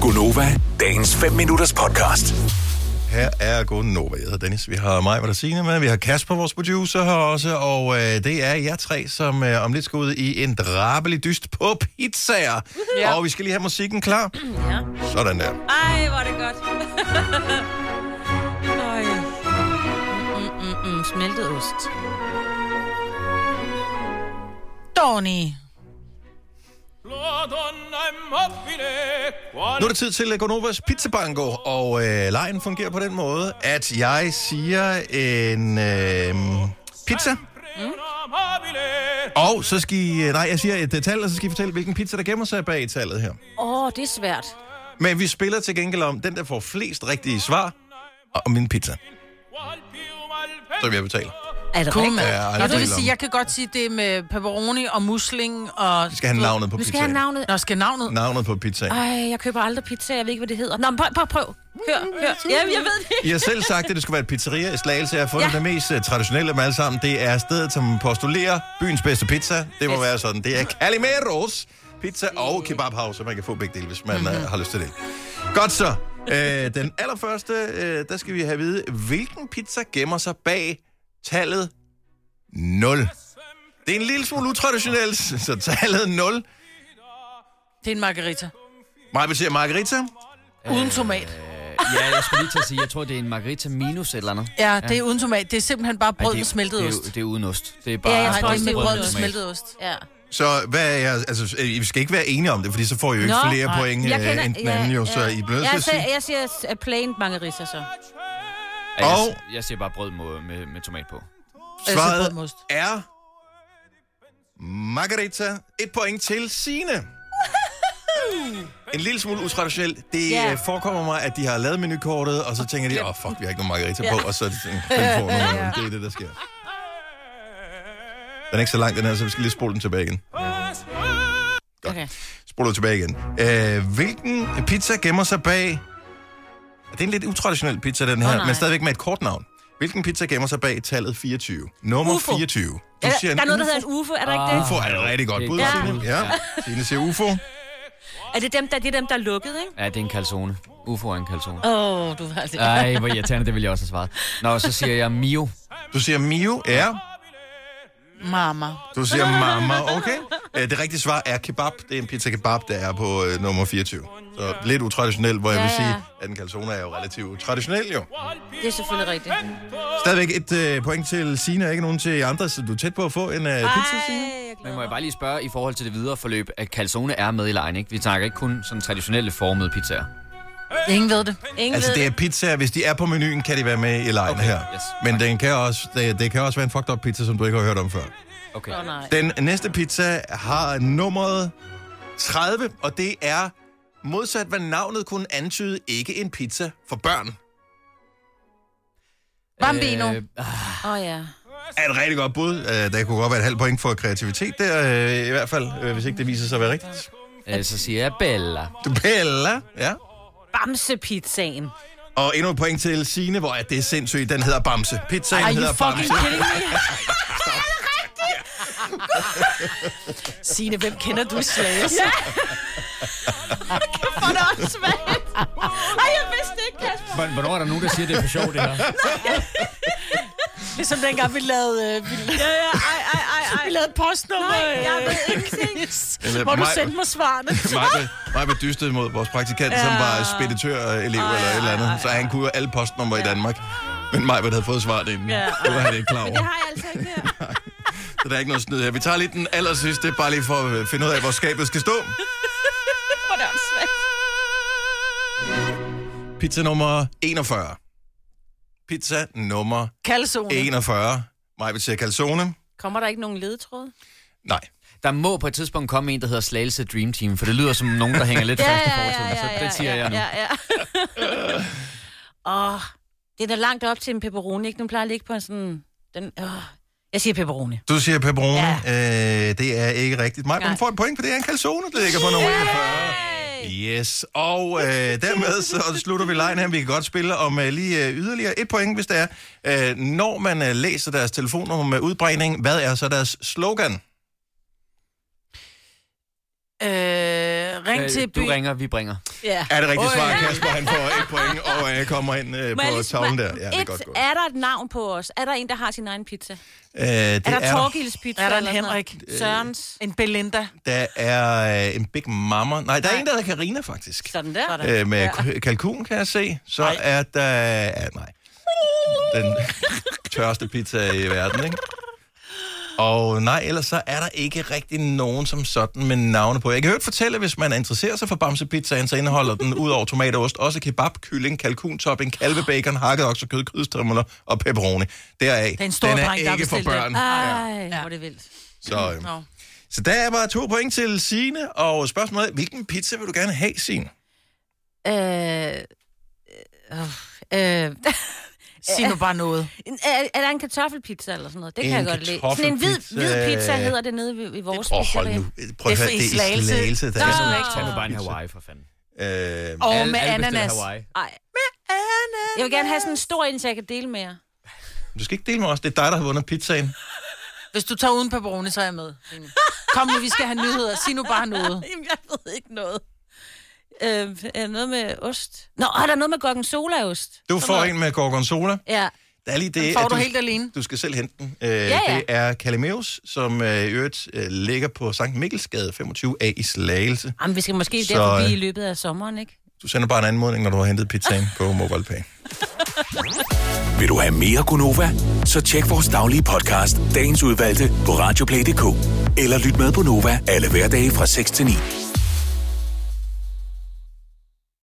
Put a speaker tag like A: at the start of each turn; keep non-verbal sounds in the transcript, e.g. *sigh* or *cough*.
A: Gunova, dagens 5 minutters podcast.
B: Her er Golden Nova. Jeg hedder Dennis. Vi har mig, hvad der siger med. Vi har Kasper, vores producer, her også. Og øh, det er jer tre, som øh, om lidt skal ud i en drabelig dyst på pizzaer.
C: Ja.
B: Og vi skal lige have musikken klar.
C: Ja.
B: Sådan der.
C: Ej, hvor er det godt. *laughs* Ej. Mm, mm, mm, mm, smeltet ost.
D: Donny.
B: Nu er det tid til øh, Gonovas Pizzabango, og øh, lejen fungerer på den måde, at jeg siger en øh, pizza, og så skal I, øh, nej, jeg siger et øh, tal, og så skal I fortælle, hvilken pizza, der gemmer sig bag tallet her.
C: Åh, oh, det er svært.
B: Men vi spiller til gengæld om den, der får flest rigtige svar, om min pizza, som jeg betaler.
C: Er det
D: Cool,
C: rigtigt?
D: mand.
B: Ja, aldrig
D: Nå, det
B: tvivl
D: vil
B: om.
D: sige, jeg kan godt sige det er med pepperoni og musling og...
B: Vi skal have navnet på
C: Nu
B: pizzaen.
C: skal jeg have navnet.
D: Nå, skal navnet...
B: Navnet på pizzaen.
C: Ej, jeg køber aldrig pizza, jeg ved ikke, hvad det hedder. Nå, men prøv, prøv, prøv. Hør, hør. Ja, jeg ved det.
B: I har selv sagt, at det skulle være et pizzeria i Slagelse. Jeg har fundet ja.
C: Ja.
B: det mest øh, traditionelle med alle sammen. Det er stedet, som postulerer byens bedste pizza. Det må være sådan. Det er Calimeros pizza og kebabhav, så man kan få begge dele, hvis man mm-hmm. har lyst til det. Godt så. Øh, den allerførste, øh, der skal vi have at vide, hvilken pizza gemmer sig bag tallet 0. Det er en lille smule utraditionelt, så tallet 0.
D: Det er en margarita.
B: Mig vil sige margarita.
D: Uden tomat.
E: Øh, Ja, jeg skulle lige til at sige, jeg tror, det er en margarita minus et eller andet. Ej,
D: Ja, det er uden tomat. Det er simpelthen bare brød med smeltet
E: det, er,
D: ost.
E: det er uden ost. Det er bare
C: Ja, jeg
D: Nej,
C: tror
D: det
C: også,
D: er med
C: det er
D: brød
C: uden
D: med
C: ost.
D: smeltet ost.
C: Ja.
B: Så hvad er jeg, altså, øh, I skal ikke være enige om det, fordi så får I jo ikke Nå,
C: Nå,
B: flere nej. point øh, end den anden, jo, så I bliver nødt til at sige...
C: jeg, siger, jeg siger s- plain margarita så.
E: Ja, jeg,
B: Og-
E: jeg siger bare brød med, med, med tomat på.
D: Altså, brød med
B: Svaret
D: ost.
B: er... Margarita, et point til Sine. En lille smule utraditionelt. Det
C: Ja.
B: yeah. forekommer mig, at de har lavet menukortet, og så tænker de, åh oh, fuck, vi har ikke nogen margarita på, og så er det sådan, den får nogen. Det er det, der sker. Den er ikke så lang, den her, så vi skal lige spole den tilbage igen. Godt.
D: Okay.
B: Spoler tilbage igen. Øh, hvilken pizza gemmer sig bag... Det er en lidt utraditionel pizza, den her, oh,
C: nej.
B: men stadigvæk med et kort navn. Hvilken pizza gemmer sig bag tallet 24? Nummer
C: Ufo.
B: 24. Du
C: Er der, der er noget, der
B: UFO.
C: hedder en UFO, er der ikke det?
B: UFO er et rigtig godt
E: Det er
B: bud,
E: et
B: Signe.
E: godt
B: Ja. Signe siger UFO.
C: Er det dem, der, det er dem, der er lukket, ikke?
E: Ja, det er en calzone. Ufo er en calzone.
C: Åh, oh, du har det.
E: Ej, hvor irriterende, det ville jeg også have svaret. Nå, så siger jeg Mio.
B: Du siger Mio. Ja.
D: Mama.
B: Du siger Mama. Okay. Øh, Det rigtige svar er kebab. Det er en pizza kebab, der er på øh, nummer 24. Så lidt utraditionelt, hvor jeg
C: Ja,
B: vil
C: ja.
B: sige, at en calzone er jo relativt traditionel, jo.
C: Det er selvfølgelig rigtigt.
B: Stadigvæk et øh, point til Signe, og ikke nogen til andre, så du er tæt på at få en øh, pizza, Signe.
C: jeg
E: Men må jeg bare lige spørge i forhold til det videre forløb, at calzone er med i lejen, ikke? Vi snakker ikke kun sådan traditionelle formede pizzaer.
D: Ingen ved det.
C: Ingen
B: Altså,
C: ved
B: det er pizzaer. Hvis de er på menuen, kan de være med i lejen okay,
E: Okay,
B: her. Yes,
E: yes.
B: Men den kan også, det, det kan også være en fucked up pizza, som du ikke har hørt om før.
E: Okay.
C: Åh, nej.
B: Den næste pizza har nummeret 30, og det er modsat, hvad navnet kunne antyde, ikke en pizza for børn.
D: Bambino.
E: Øh,
C: Åh, oh, ja.
B: Er et rigtig godt bud. Øh, Der kunne godt være et halvt point for kreativitet der, øh, i hvert fald, øh, hvis ikke det viser sig at være rigtigt.
E: øh, så siger jeg Bella.
B: Bella, ja.
C: Bamsepizzaen.
B: Og endnu et point til Signe, hvor er det er sindssygt. Den hedder Bamse. Pizzaen
D: Are you
B: hedder Bamse.
D: fucking kidding me? Signe, hvem kender du i Slagelse?
C: Ja! For det også svært. Ej, jeg vidste det ikke, Kasper.
E: Hvor- Hvornår er der nogen, der siger, det er for sjovt, det her?
D: Ligesom dengang vi lavede, øh, vi lavede,
C: Ja, ja, ej, ej, ej, ej.
D: vi lavede postnummer.
C: Nej, jeg
D: øh,
C: ved ingenting.
B: Eller
D: Hvor du
B: mig-
D: sendte mig svarene.
B: *laughs* Mig, mig blev dystet mod vores praktikant, ja. som var speditørelev eller et eller andet. Så han kunne jo alle postnumre i Danmark. Men mig havde fået svaret inden.
C: Ja.
B: Det var han ikke klar
C: Det
B: over.
C: har jeg altså ikke her.
B: Så der er ikke noget snyd her. Vi tager lige den aller sidste, bare lige for at finde ud af, hvor skabet skal
C: *laughs*
B: stå.
C: For det også svært.
B: Pizza nummer 41. Pizza nummer
D: Kalsone.
B: 41. Mig vil sige calzone.
C: Kommer der ikke nogen ledetråd?
B: Nej.
E: Der må på et tidspunkt komme en, der hedder Slagelse Dream Team, for det lyder som nogen, der hænger
C: *laughs*
E: lidt fast i fortiden. så det siger
C: ja,
E: jeg nu.
C: Ja, ja. Åh, det er da langt op til en pepperoni, ikke? Den plejer at ligge på en sådan... Den, åh. Jeg siger pepperoni.
B: Du siger pepperoni. Ja. Øh, det er ikke rigtigt. Mig,
C: Nej.
B: men får et point, for det er en calzone, der ligger på nummer 41. Yes, og øh, dermed så slutter vi lejen her. Vi kan godt spille om øh, lige øh, yderligere et point, hvis det er. Øh, når man øh, læser deres telefonnummer med udbredning, hvad er så deres slogan?
D: Øh, ring til byen. Øh,
E: Øh, Du Øh, ringer, vi bringer.
C: Ja.
B: Er det rigtigt svar, Kasper? Han får et point, og øh, kommer ind øh,
C: Må jeg
B: på
C: lige
B: tavlen
C: spørge-
B: der. Ja, det er
C: et,
B: godt gået.
C: er der et navn på os? Er der en, der har sin egen pizza?
B: Øh, det
C: Er der Torgils pizza?
D: Er der en
C: eller sådan noget?
D: Henrik?
C: Sørens?
D: En Belinda.
B: Der er øh, en Big Mama. Nej, der er en, der hedder Karina faktisk.
C: Sådan der. Sådan.
B: Øh, med ja. kalkun, kan jeg se. Så nej. er der... Ja, nej. Den tørste pizza i verden, ikke? Og nej, ellers så er der ikke rigtig nogen som sådan med navne på. Jeg kan hørt fortælle, hvis man interesserer sig for Bamsepizzaen, så indeholder den ud over tomat og ost også kebab, kylling, kalkuntopping, kalvebacon, hakket oksekød, kødstrimler og pepperoni. Deraf,
D: er en stor
B: den er
D: dreng, der har
B: ikke for
D: bestilt det. Ah.
B: børn.
C: Ej, hvor er det vildt.
B: Så, øhm. så der er bare to point til Sine og spørgsmålet er, hvilken pizza vil du gerne have, Signe?
C: Øh, øh, øh,
D: Sig nu bare noget.
C: er, er der en kartoffelpizza eller sådan noget? Det kan
B: En
C: jeg godt lide. Sådan en hvid, hvid
B: kartoffelpizza.
C: pizza hedder det nede ved, i vores
B: Åh, oh,
C: pizzeria.
B: hold nu. Prøv at
D: Det er
B: høre,
D: for- i
B: det er i
D: Slagelse.
B: Slagelse. Der er
E: Tag nu-
B: sådan
E: Tag nu bare en
B: pizza.
E: Hawaii, for fanden.
B: Øh,
D: Og
E: Alle-
D: med
E: alle bestiller
D: ananas.
E: Hawaii.
C: Ej. Jeg vil gerne have sådan en stor en, så jeg kan dele med jer.
B: du skal ikke dele med os. Det er dig, der har vundet pizzaen.
D: Hvis du tager uden pepperoni, så er jeg med. Signe. Kom nu, vi skal have nyheder. Sig nu bare noget.
C: *laughs* Jamen, jeg ved ikke noget. Øh, er der noget med ost? Nå, er der noget med gorgonzola-ost?
B: Du får en med gorgonzola.
C: Ja.
B: Der er lige det,
D: Den får
B: at
D: du helt alene.
B: Du skal selv hente den. Øh, ja,
C: ja.
B: Det er Calimeus, som øh, i øvrigt øh, ligger på Sankt Mikkelsgade 25A i Slagelse.
C: Jamen, vi skal måske
B: Så,
C: så... derfor
B: øh,
C: blive i løbet af sommeren, ikke?
B: Du sender bare en anmodning, når du har hentet pizzaen på MobilePay.
A: Vil du have mere Gunova? Så tjek vores daglige podcast, dagens udvalgte, på radioplay.dk. Eller lyt med på Nova alle hverdage fra 6 til 9.